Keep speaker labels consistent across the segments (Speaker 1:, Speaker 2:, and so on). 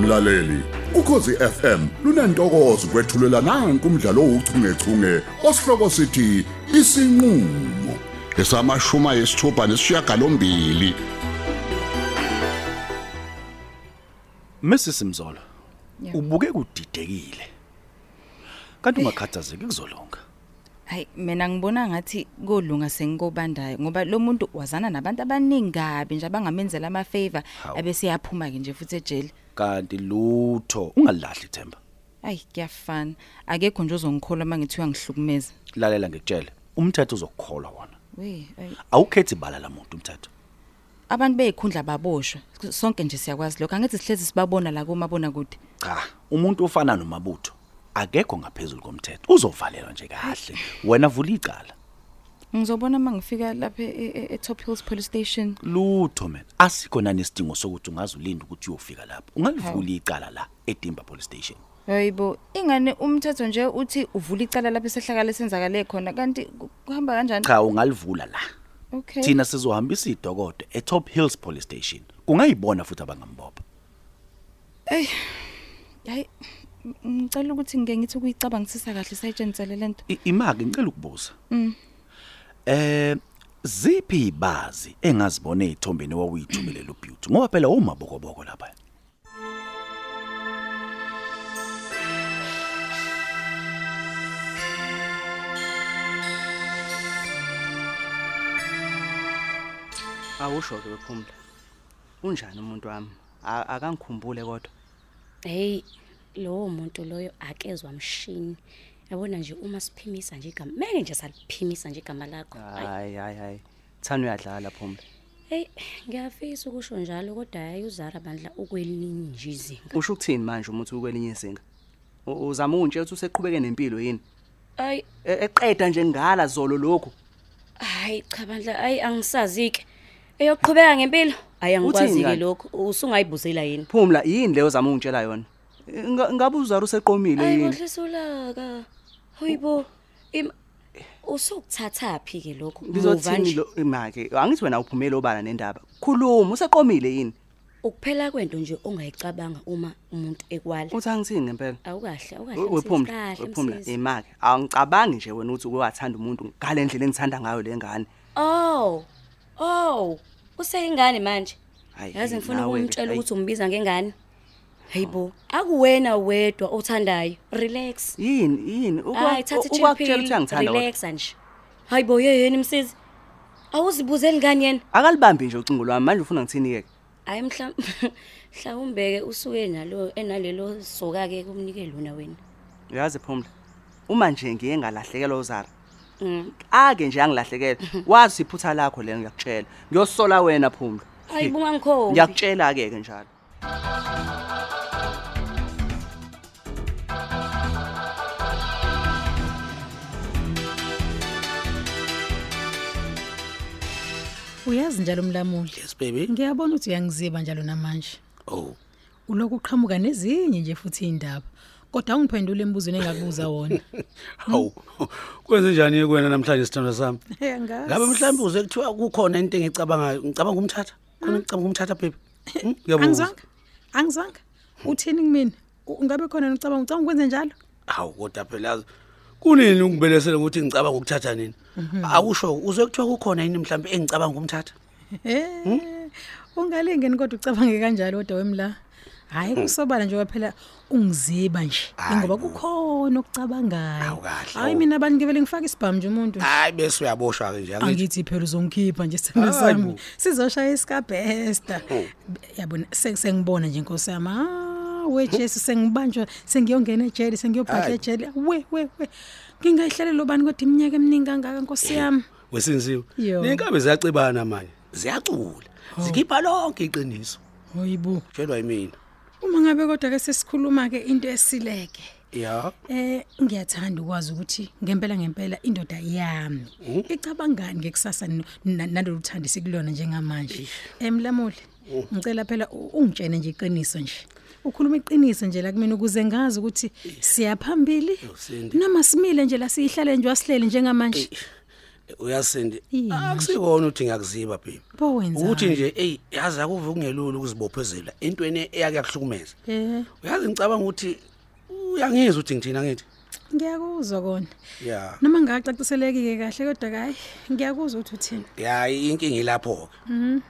Speaker 1: mlaleli ukhosi FM lunantokozo kwethulela nange umdlalo ouchungechunge osihloko sithi isinqulo esamashuma yesithupha nesishiyagalombili
Speaker 2: Mrs Mzolo
Speaker 3: Yeah.
Speaker 2: ubuke kudidekile kanti ungakhathazeki kuzolonga
Speaker 3: Hayi mina ngibona ngathi kolunga sengikobandayo ngoba lo muntu wazana nabantu abaningi kabi nje abangamenzela ama favor
Speaker 2: Hawu.
Speaker 3: abese yaphuma ke nje futhi ejele.
Speaker 2: kanti lutho ungalahli themba
Speaker 3: Ayi kuyafana. Akekho nje ozongikhola mangithi uyangihlukumeza.
Speaker 2: lalela ngikutshele umthetho uzokukholwa wona
Speaker 3: We, ayi.
Speaker 2: awukhethi bala la muntu umthetho
Speaker 3: Abantu beyikhundla baboshwe. Sonke nje siyakwazi lokho. Angithi sihlezi sibabona la kumabona kude.
Speaker 2: cha umuntu ufana nomabutho akekho ngaphezulu komthetho uzovalelwa nje kahle wena vula icala
Speaker 3: Ngizobona mangifika lapha e- e- e- eTop Hills Police Station.
Speaker 2: lutho mina asikho nani isidingo sokuthi ungazulinda ukuthi uyofika lapho ungalivula icala la edimba police station
Speaker 3: Hayibo, ingane umthetho nje uthi uvula icala lapha esehlakala senzakale khona kanti ku- kuhamba kanjani?
Speaker 2: cha ungalivula la
Speaker 3: Okay.
Speaker 2: thina sizohambisa idokodo eTop Hills police station kungayibona futhi abangambopha
Speaker 3: hayi m- ngicela ukuthi ngike ngithi ukuyicabangisisa kahle sayitshengisele lento
Speaker 2: I- imaki ngicela ukubuza eh ziphi ibazi engazibona ezithombeni wawuyithumelela ubeauty ngoba phela umabokoboko lapha
Speaker 4: awusho ke bephumla unjani umuntu wami A- akangikhumbule kodwa
Speaker 5: hey lowo muntu loyo akezwa mshini yabona nje uma siphimisa nje igama meke nje saliphimisa nje igama lakho Ay,
Speaker 4: hayi hayi hayi thani uyadlala phumla
Speaker 5: hey ngiyafisa ukusho njalo kodwa hayi uzara bandla ukwelinye nje izinga
Speaker 4: usho ukuthini manje umuthi ukwelinye izinga U- uzama ungitshela ukuthi useqhubeke nempilo yini
Speaker 5: hayi
Speaker 4: E- eqeda nje ngala zolo lokhu
Speaker 5: hayi cha bandla hayi angisazike eyoqhubeka ngempilo hayi angikwazi-ke
Speaker 4: ngani?
Speaker 5: lokhu usungayibuzela yini
Speaker 4: phumla yini leyo uzama ungitshela yona E, nga- ngabe uzara useqomile
Speaker 5: hayi
Speaker 4: yini
Speaker 5: kohlisulaka hoyibo usukuthathaphi ke lokho muva
Speaker 4: ngizothini
Speaker 5: nje
Speaker 4: lo imake angithi wena uphumele obala nendaba khuluma useqomile yini
Speaker 5: ukuphela kwento nje ongayicabanga uma umuntu ekwala
Speaker 4: uthi angithini ngempela
Speaker 5: awukahle
Speaker 4: We- wephumla wephumla
Speaker 5: awukahle
Speaker 4: imake angicabangi nje wena ukuthi uwathanda umuntu ngale ndlela engithanda ngayo le ngane
Speaker 5: oh oh useyingane manje
Speaker 4: Hayi,
Speaker 5: yazi ngifuna
Speaker 4: nawe-ke, Oh.
Speaker 5: ukumtshela
Speaker 4: hayi.
Speaker 5: ukuthi umbiza ngengane hayi bo akuwena wedwa othandayo relax
Speaker 4: yini yini Ukwa-
Speaker 5: hayi thatha
Speaker 4: u- ukwakutshela
Speaker 5: i-chill
Speaker 4: ukuthi
Speaker 5: pill,
Speaker 4: angithanda kodwa
Speaker 5: relaxa nje hayi bo yeyeni msizi awuzibuzeli ngani yena
Speaker 4: akalibambi nje ucingo lwami manje ufuna ngithini-ke
Speaker 5: hayi mhla mhlawumbe-ke usuke nalo enalelo soka-ke kumnike lona wena
Speaker 4: uyazi phumla uma nje ngiye ngalahlekelwa uzara
Speaker 5: Mm.
Speaker 4: ake nje angilahlekela wazi iphutha lakho lelo ngiyakutshela ngiyosola wena phumla
Speaker 5: hayi bungangikhombi
Speaker 4: ngiyakutshela-ke ke njalo
Speaker 6: uyazi njalo mlamuli
Speaker 2: yes baby
Speaker 6: ngiyabona ukuthi uyangiziba njalo namanje
Speaker 2: oh
Speaker 6: uloku uqhamuka nezinye nje futhi indaba kodwa ungiphendule embuzweni engakubuza wona
Speaker 7: hawu kwenze njani kwena namhlanje sithandwa sami ngabe
Speaker 6: ngabe
Speaker 7: mhlawumbe uze kuthiwa kukhona into engiyicabangayo ngicabanga umthatha khona ngicabanga umthatha bhebhe Hmm, ngiyabuzwa.
Speaker 6: angizwanga angizwanga uthini kumina U- ngabe khona ngicabanga ucabanga ukwenze njalo
Speaker 7: hawu kodwa phela yazi, kunini ungibelesele ukuthi ngicabanga ukuthatha nini akusho uze kuthiwa kukhona yini mhlawumbe engicabanga umthatha
Speaker 6: Eh, ungalingeni kodwa ucabange kanjalo kodwa wemla hayi kusobala njengoba phela ungiziba nje
Speaker 7: Hmm. Hayi hmm.
Speaker 6: ngoba
Speaker 7: bo.
Speaker 6: kukhona okucabangayo
Speaker 7: Awu kahle,
Speaker 6: hayi
Speaker 7: awu.
Speaker 6: mina abantu ngivele ngifake isibhamu nje umuntu
Speaker 7: hhayi bese uyaboshwa-ke nje angithi
Speaker 6: angithi phela uzongikhipha nje sithando
Speaker 7: Hayi
Speaker 6: sami
Speaker 7: bo. Hmm.
Speaker 6: sizoshaya isikabhesta yabona se- sengibona nje nkosi yami Ah, we jesu sengibanjwa sengiyongena ejele sengiyobhatha
Speaker 7: Hmm. Hayi bo.
Speaker 6: ejele we we we ngingayihlelela ubani kodwa iminyaka eminingi kangaka nkosi yami
Speaker 7: wesinisiwe
Speaker 6: Yo. Oh.
Speaker 7: ney'nkabe ziyacibana manje ziyacula zikhipha lonke iqiniso
Speaker 6: hoyibo
Speaker 7: tshelwa yimina
Speaker 6: uma ngabe kodwa-ke sesikhuluma-ke into esileke
Speaker 7: ya
Speaker 6: um ngiyathanda ukwazi ukuthi ngempela ngempela indoda yami
Speaker 7: Hm?
Speaker 6: icabangani ngekusasa n- na- nalolu thandi sikulona njengamanje um lamuli
Speaker 7: Hm.
Speaker 6: ngicela phela u- ungitshene nje iqiniso nje ukhuluma iqiniso nje la kumina ukuze ngazi ukuthi siyaphambili
Speaker 7: Sindi.
Speaker 6: noma simile nje la siyihlale nje wasilele njengamanje
Speaker 7: uyasindi
Speaker 6: Yini?
Speaker 7: akusikona uthi ngiyakuziba baby
Speaker 6: Pho wenzani?
Speaker 7: ukuthi nje eyi yazi akuve kungelula ukuzibophezela entweni eyake yakuhlukumeza
Speaker 6: Eh,
Speaker 7: uyazi ngicabanga ukuthi uyangizwa ukuthi ngithina ngithi
Speaker 6: ngiyakuzwa kona.
Speaker 7: ya
Speaker 6: Noma ngacaciselekike kahle kodwa hayi ngiyakuzwa ukuthi uthini.
Speaker 7: ya inkinga ilapho ke
Speaker 6: Mhm.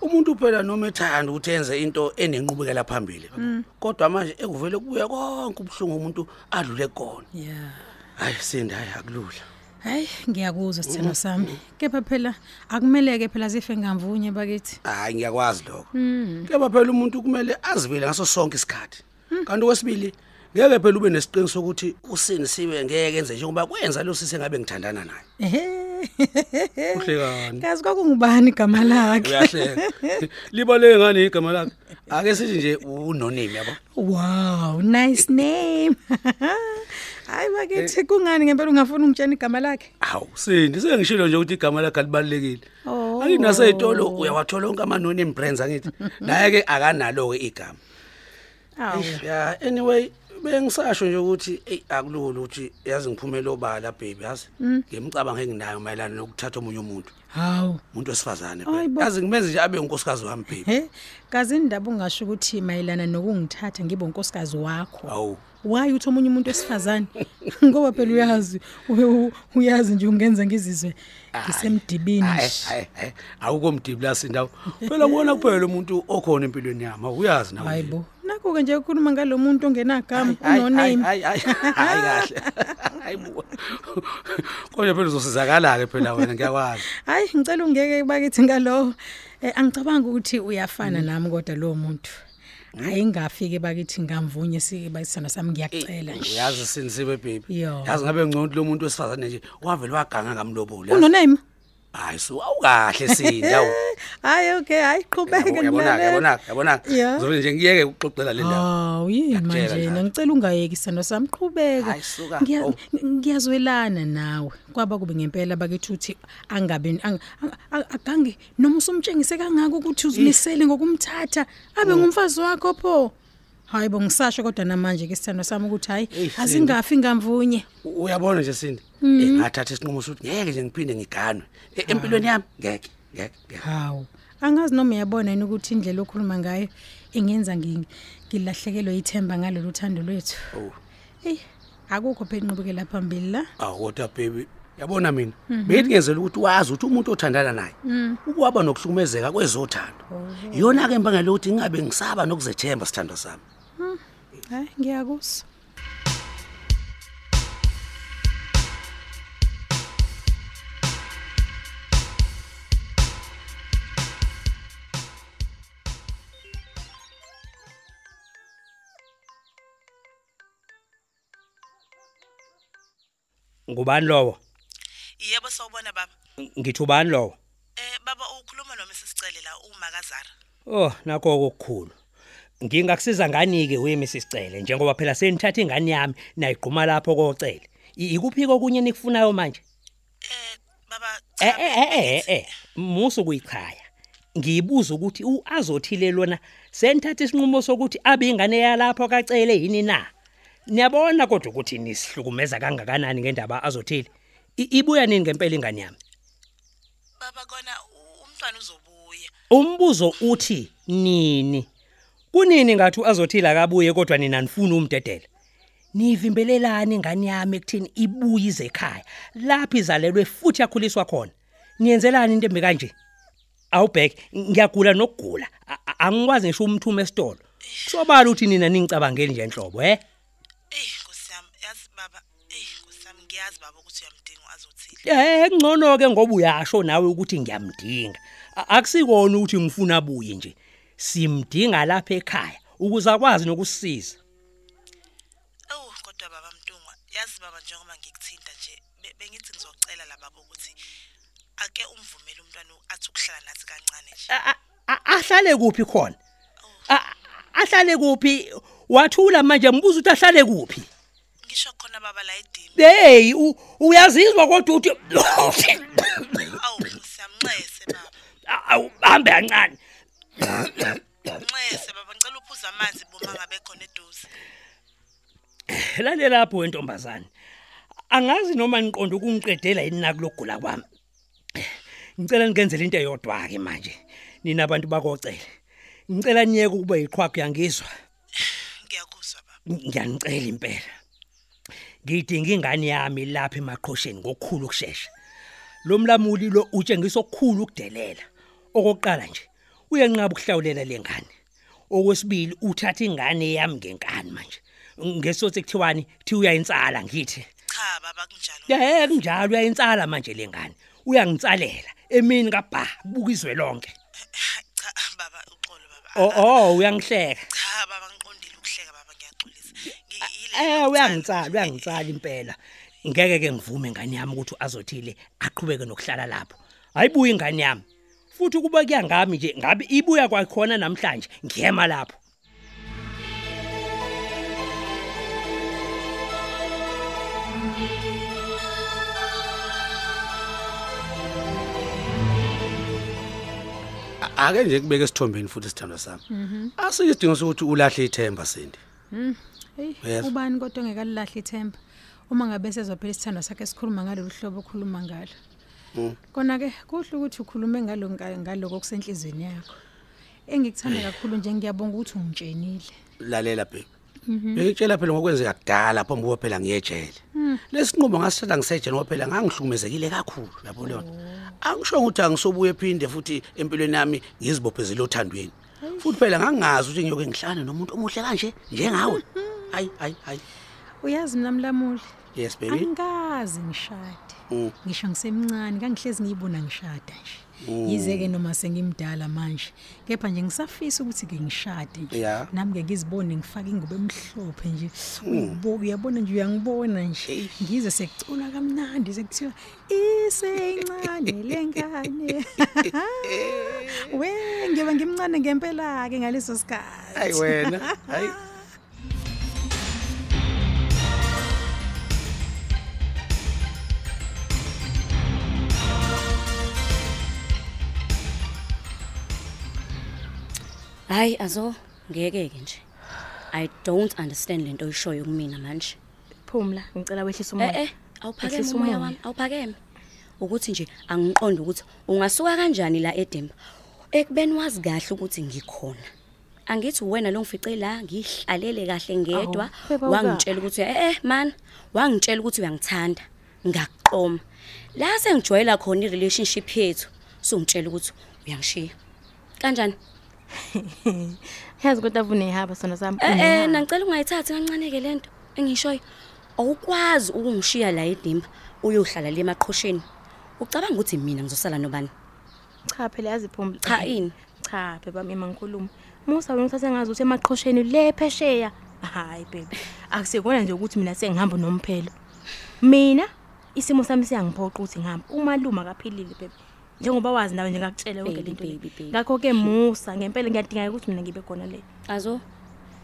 Speaker 7: umuntu phela noma ethanda ukuthi enze into enenqubekela phambili
Speaker 6: Mm.
Speaker 7: kodwa manje ekuvele kubuya konke ubuhlungu umuntu adlule kona
Speaker 6: Yeah.
Speaker 7: hayi sindi hayi akulula
Speaker 6: Hayi ngiyakuzwa sithelo sami. Kepha phela akumeleke phela zife ngamvunye bakithi.
Speaker 7: hayi ngiyakwazi lokho kepha phela umuntu kumele azibile ngaso sonke isikhathi kanti okwesibili ngeke phela ube nesiqiniso sokuthi usini sibe ngeke enze njengoba kwenza lo sise ngabe ngithandana naye
Speaker 6: Ehhe.
Speaker 7: uhlekani
Speaker 6: Kazi kwakungubani igama lakhe?
Speaker 7: uyahleka libaleke ngani igama lakhe ake sithi nje unonimi yabo
Speaker 6: Wow, nice name. Hayi
Speaker 7: Eh.
Speaker 6: bakithi kungani ngempela ungafuna ungitshena igama lakhe?
Speaker 7: hawu sindi sengishilo nje ukuthi igama lakhe alibalulekile
Speaker 6: Oh.
Speaker 7: angithi nasey'tolo uyawathola onke ama-nonim brands angithi naye-ke akanalo-ke igama
Speaker 6: Awu.
Speaker 7: Eish, ya anyway bengisasho nje ukuthi eyi akulula ukuthi yazi ngiphumele obala baby yazi
Speaker 6: Mm.
Speaker 7: ngimcabanga enginayo mayelana nokuthatha omunye umuntu
Speaker 6: Hawu.
Speaker 7: umuntu wesifazane
Speaker 6: Ayi bo.
Speaker 7: baby. yazi ngimenze nje abe unkosikazi wami baby
Speaker 6: He, kazi indaba ungasho ukuthi mayelana nokungithatha ngibe unkosikazi wakho.
Speaker 7: awu
Speaker 6: Why uthi omunye umuntu wesifazane? Ngoba phela uyazi u- u- uyazi nje ungenza ngizizwe ngisemdibini. nje.
Speaker 7: awuko mdibula sindawo phela kuona kuphela umuntu okhona empilweni yami awuyazi nawe nje.
Speaker 6: Hayibo. Nakho ke nje ukukhuluma ngalommuntu ongenagama
Speaker 7: Hayi, hayi,
Speaker 6: unoname.
Speaker 7: hayi, hayi, hayi kahle hayi bo kodwa phela uzosizakala-ke phela wena ngiyakwazi
Speaker 6: Hayi ngicela ungeke bakithi ngalowo. Eh, Angicabanga ukuthi
Speaker 7: Mm.
Speaker 6: uyafana nami kodwa lo muntu. Hayi ngafike bakithi ngamvunye sike bayisana sami ngiyacela
Speaker 7: Eh,
Speaker 6: nje.
Speaker 7: uyazi sinisiwe baby
Speaker 6: Yo.
Speaker 7: yazi ngabe ngcono ukuthi lo muntu wesifazane nje wavele waganga ngamlobolo yazi.
Speaker 6: Unoname?
Speaker 7: hayi so awukahle sindawo
Speaker 6: Hayi okay, hayi qhubeke
Speaker 7: yabonaka
Speaker 6: ngilalela.
Speaker 7: yabonaka yabonaka
Speaker 6: Yeah.
Speaker 7: ngizobe nje ngiyeke ukuxoxela le ndaba
Speaker 6: Hawu yini
Speaker 7: Ngiyakutshela
Speaker 6: Oh, manje
Speaker 7: nami.
Speaker 6: ngicela ungayeki sithando sami qhubeka.
Speaker 7: Hayi, suka.
Speaker 6: Ngiya-
Speaker 7: Oh.
Speaker 6: ng- Ngiyazwelana nawe. Kwaba kube ngempela bakethi uthi angabe ang- ang- agange noma usumtshengise kangaka ukuthi uzimisele ngokumthatha
Speaker 7: Oh.
Speaker 6: abe ngumfazi wakho pho. Hayi bongisasho kodwa namanje ke sithando sami ukuthi hayi
Speaker 7: Eyi, Sindi.
Speaker 6: azingafi ngamvunye.
Speaker 7: U- uyabona nje sindi eh ngathatha isinqumo sokuthi ngeke nje ngiphinde ngiganwe Eh, empilweni yami ngeke ngeke ngeke.
Speaker 6: Hawu. Angazi noma uyabona yini ukuthi indlela okhuluma ngayo ingenza ngi- ngilahlekelwe ithemba ngalolu thando lwethu.
Speaker 7: Oh.
Speaker 6: Ey, akukho phela inqubekela phambili la.
Speaker 7: awu kodwa baby yabona mina beyithi ngenzela ukuthi wazi ukuthi umuntu othandana naye ukwaba nokuhlukumezeka kwezothando iyona-ke imbangela yokuthi ngingabe ngisaba nokuzethemba sithando sami
Speaker 6: Hayi ngiyakuzwa.
Speaker 8: Ngubani lowo?
Speaker 9: Yebo sawubona baba.
Speaker 8: Ngithi ubani lowo?
Speaker 9: Eh baba ukhuluma no Mrs Cele la uma kaZara.
Speaker 8: Oh, nakho okukhulu. Ngingakusiza ngani ke we Mrs Cele njengoba phela senithatha ingane yami nayigquma lapho koocele. I- Ikuphi kokunye nikufunayo manje?
Speaker 9: Eh baba
Speaker 8: Eh eh eh, eh eh musu kuyichaya. Ngiyibuza ukuthi uazothile lona senithatha isinqumo sokuthi abe ingane yalapho kaCele yini na? Niyabona kodwa ukuthi nisihlukumeza kangakanani ngendaba azothile. I- Ibuya nini ngempela ingane yami?
Speaker 9: baba kona u- umntwana uzobuya.
Speaker 8: Umbuzo uthi nini? Kunini ngathi azothila kabuye kodwa nina nifuna umdedela. Nivimbelelani ingane yami ekuthini ibuye ize ekhaya. Laphi izalelwe futhi yakhuliswa khona. Niyenzelani into embi kanje? Awubhek, ngiyagula nokugula. A- a- Angikwazi ngisho umthuma esitolo. Kusobala ukuthi nina ningicabangeli nje enhlobo, he?
Speaker 9: Eh Nkosi yami yazi baba eh Nkosi yami ngiyazi baba ukuthi uyamdinga azothile.
Speaker 8: Eh, ngcono ke ngoba uyasho nawe ukuthi ngiyamdinga. A- Akusikona ukuthi ngifuna abuye nje. Simdinga lapha ekhaya ukuze akwazi nokusisiza.
Speaker 9: Oh kodwa baba Mtungwa yazi baba njengoba ngikuthinta nje be- bengithi ngizocela la baba ukuthi ake umvumele umntwana athi ukuhlala nathi kancane nje.
Speaker 8: A- a- a- Ahlale kuphi khona? A- a- Ahlale kuphi? Wathula manje mbuzo ukuthi ahlale kuphi?
Speaker 9: Ngisho khona baba la edini.
Speaker 8: Hey, u- uyazizwa kodwa uthi
Speaker 9: Awu Nkosi yami nxese baba.
Speaker 8: Awu, hambe kancane.
Speaker 9: Nxese baba ngicela uphuza amanzi boma ngabe khona eduze.
Speaker 8: Lalela lapho wentombazane. angazi noma niqonda ukungiqedela yini nakulogula kwami ngicela nikenzele into eyodwa ke manje nina abantu bakocela ngicela niyeke ukuba iqhwaqhu yangizwa
Speaker 9: ngiyakuzwa baba
Speaker 8: ngiyanicela impela ngidinga ingane yami lapha emaqhosheni ngokukhulu kusheshsha lo mlamuli lo utshengisa okukhulu ukudelela okokuqala nje uyenqaba ukuhlawulela lengane okwesibili uthatha ingane yami ngenkani manje ngesothi kuthiwani thi uyayinsala ngithi
Speaker 9: cha baba kunjalo
Speaker 8: yehe kunjalo uyayinsala manje lengane uyangitsalela emini kabha bukizwe lonke
Speaker 9: cha baba uxolo baba
Speaker 8: oh oh uyangihleka
Speaker 9: cha baba ngiqondile ukuhleka baba ngiyaxolisa Ngi- yile
Speaker 8: Eh
Speaker 9: nto-
Speaker 8: uyangitsala uyangitsala impela. Ngeke ke ngivume ingane yami ukuthi azothile aqhubeke nokuhlala lapho. Hayibuya ingane yami. Futhi kuba kuyangami nje ngabe ibuya kwakhona namhlanje ngiyema lapho.
Speaker 7: ake nje kubeke esithombeni futhi isithandwa sami asisidingo sokuthi ulahle ithemba sindi
Speaker 6: Hey,
Speaker 7: Yes.
Speaker 6: ubani kodwa ongekalilahle ithemba uma ngabe sezophela isithando sakhe sikhuluma ngalolu hlobo okhuluma ngalo kona-ke kuhle ukuthi ukhulume ngalo- nga- ngaloko okusenhliziyweni yakho engikuthanda kakhulu nje ngiyabonga ukuthi ungitshenile
Speaker 7: lalela baby bengitshela phela ngokwenzeka kudala phambi kuba phela ngiyejele lesinqumo ngasithatha ngisejele ngoba phela ngangihlukumezekile kakhulu yabo leyona angishongo ukuthi angisobuye phinde futhi empilweni yami ngizibophezele othandweni futhi phela ngangazi ukuthi ngiyoke ngihlane nomuntu omuhle kanje njengawe hayi hayi hayi
Speaker 6: uyazi mina mlamuli
Speaker 7: yes baby
Speaker 6: angikazi ngishade
Speaker 7: Mm.
Speaker 6: ngisho ngisemncane kangihlezi ngiyibona ngishada nje yize-ke noma sengimdala manje kepha nje ngisafisa ukuthi-ke ngishade nje
Speaker 7: Ya.
Speaker 6: nami-ke ngizibone ngifake ingubo emhlophe nje Uyibo- uyabona nje uyangibona nje ngize sekucula kamnandi sekuthiwa isencane le ngane we ngiyoba ngimncane ngempela-ke ngaleso
Speaker 7: hayi
Speaker 6: sikhathi
Speaker 7: wena hayi
Speaker 5: hayi azo ngeke ke nje i don't understand lento oyishoyo kumina manje
Speaker 3: phumla ngicela wehlisa
Speaker 5: eh
Speaker 3: umoya
Speaker 5: eh awuphakeme
Speaker 3: Ehlisa
Speaker 5: umoya
Speaker 3: umoya.
Speaker 5: wami awuphakeme ukuthi nje angiqondi ukuthi ungasuka kanjani la edemba ekubeni wazi kahle ukuthi ngikhona angithi wena lo ngifice la ngihlalele kahle ngedwa
Speaker 3: Awu, beba uka.
Speaker 5: wangitshela ukuthi eh eh man wangitshela ukuthi uyangithanda ngakuqoma la sengijoyela khona irelationship yethu sungitshela ukuthi uyangishiya kanjani
Speaker 3: yazi kodwa bunehaba sona sami
Speaker 5: Eh eh
Speaker 3: unehaba.
Speaker 5: nangicela ungayithathi kancane ke lento engishoyo. Awukwazi ukungishiya la edimba uyohlala le maqhosheni. Ucabanga ukuthi mina ngizosala nobani?
Speaker 3: cha phela yazi phumla
Speaker 5: Cha ini.
Speaker 3: cha beba mina ngikhuluma musa wena uthathe ngazi ukuthi emaqhosheni le phesheya hayi bebe akusekona nje ukuthi mina sengihamba nomphelo mina isimo sami siyangiphoqa ukuthi ngihambe umaluma kaphilile bebe njengoba wazi nawe nje ngakutshela yonke
Speaker 5: Baby,
Speaker 3: lento le.
Speaker 5: baby, baby.
Speaker 3: ngakho ke musa ngempela ngiyadingeka ukuthi mina ngibe khona le
Speaker 5: Azo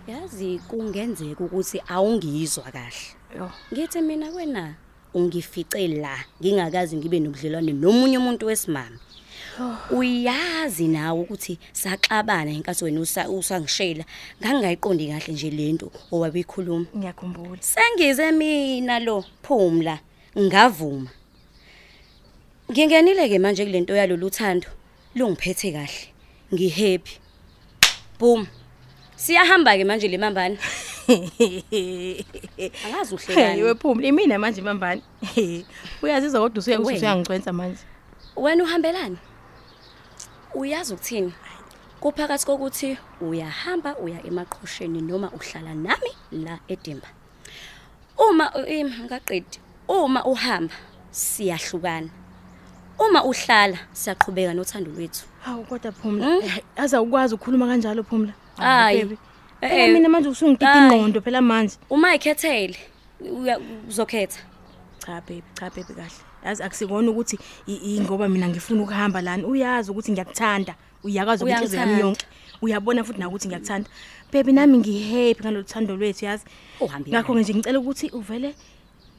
Speaker 5: yazi kungenzeka ukuthi awungizwa kahle.
Speaker 3: yo
Speaker 5: Ngithi mina kwena ungifice la ngingakazi ngibe nobudlelwane nomunye umuntu wesimame. Uyazi nawe ukuthi saxabana inkathi wena usa- usangishela ngangayiqondi kahle nje lento owabekhuluma.
Speaker 3: ngiyakhumbula
Speaker 5: Sengize mina lo Phumla ngavuma. Ngingenile ke manje kulento yalolu thando lungiphethe kahle. Ngihappy. Boom. Siyahamba ke manje lemambani.
Speaker 3: hey
Speaker 5: Angazi uhlekani.
Speaker 3: wephumla imina manje mambani uyazizwa kodwa usuya
Speaker 5: Wena.
Speaker 3: usuya uyangicwenza manje
Speaker 5: Wena uhambelani? Uyazi ukuthini? Kuphakathi kokuthi uyahamba uya emaqhosheni noma uhlala nami la edimba. Uma im ngaqedi, uma uhamba siyahlukana. Uma uhlala siyaqhubeka nothando lwethu.
Speaker 3: hawu kodwa phumla aza ukwazi ukukhuluma kanjalo phumla
Speaker 5: Hmm? Hayi.
Speaker 3: baby.
Speaker 5: Eh,
Speaker 3: Phela mina manje usungidida
Speaker 5: Hayi.
Speaker 3: ingqondo phela manje
Speaker 5: Uma ikhethele uya- uzokhetha.
Speaker 3: cha baby cha baby kahle yazi akusikona ukuthi i- i- ngoba mina ngifuna ukuhamba lana uyazi ukuthi ngiyakuthanda uyakazi ukuthi inhliziyo yami
Speaker 5: Uyangithanda.
Speaker 3: yonke uyabona futhi nawe ukuthi ngiyakuthanda baby nami ngihappy ngalolu thando lwethu yazi
Speaker 5: Uhambe
Speaker 3: ngakho-ke nje ngicela ukuthi uvele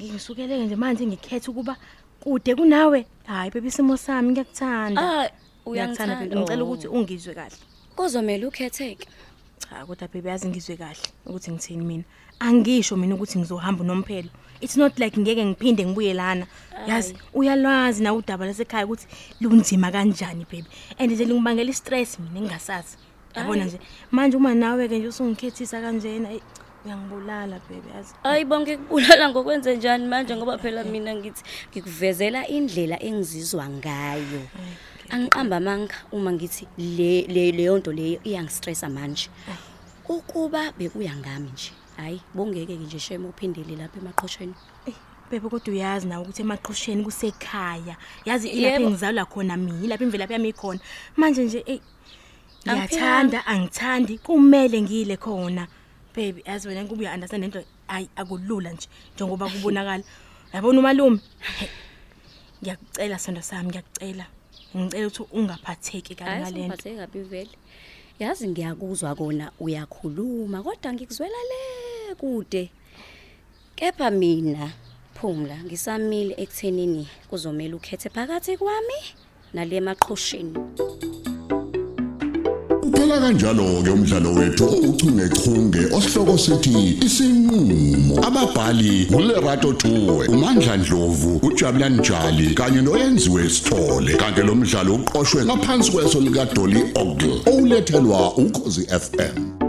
Speaker 3: ngisukeleke nje manje ngikhethe ukuba kude kunawe hayi baby isimo sami ngiyakuthanda
Speaker 5: Ah,
Speaker 3: Ngiyakuthanda,
Speaker 5: uyangithanda.
Speaker 3: baby. ngicela ukuthi ungizwe kahle
Speaker 5: kozomela ukhetheke.
Speaker 6: Cha kodwa baby yazi ngizwe kahle ukuthi ngithini mina. Angisho mina ukuthi ngizohamba nomphelo. It's not like ngeke ngiphinde ngibuye lana. Yazi uyalwazi na udaba lasekhaya ukuthi lunzima kanjani baby. And nje lingibangela i-stress mina engingasazi. Yabona nje manje uma nawe ke nje usungikhethisa kanjena eyi, uyangibulala baby yazi.
Speaker 5: Hayi bonke kubulala ngokwenze njani manje ngoba phela mina ngithi ngikuvezela indlela engizizwa ngayo. Angiqamba amanga uma ngithi le le leyo nto leyo iyangistressa manje. Ukuba bekuya ngami nje. Hayi bongeke ke nje shema uphindele lapha emaqhosheni.
Speaker 6: Eyi, Bebe kodwa uyazi na ukuthi emaqhosheni kusekhaya. Yazi ilapha
Speaker 5: Yebo.
Speaker 6: engizalwa khona mina, ilapha imvelaphi yami ikhona. Manje nje eyi, ngiyathanda angithandi kumele ngile khona. Baby yazi wena kube uyaunderstand into ayi akulula nje njengoba kubonakala. Yabona umalume. he, Ngiyakucela sondo sami ngiyakucela. Ngicela ukuthi ungaphatheki kabi
Speaker 5: Hayi
Speaker 6: ngalento.
Speaker 5: ngiphathe kabi vele. Yazi ngiyakuzwa kona uyakhuluma kodwa ngikuzwela le kude. Kepha mina phumla ngisamile ekuthenini kuzomela ukhethe phakathi kwami nale maqhosheni.
Speaker 1: Uphela kanjalo ke umdlalo wethu ouchungechunge osihloko sithi isinqulo. Ababhali uLerato Tuwe, uMandla Dlovu, uJabulani Njali kanye noyenziwe Sithole. Kanti lo mdlalo uqoqwwe ngaphansi kweso lika Dolly Ogle. Owulethelwa ukhozi FM.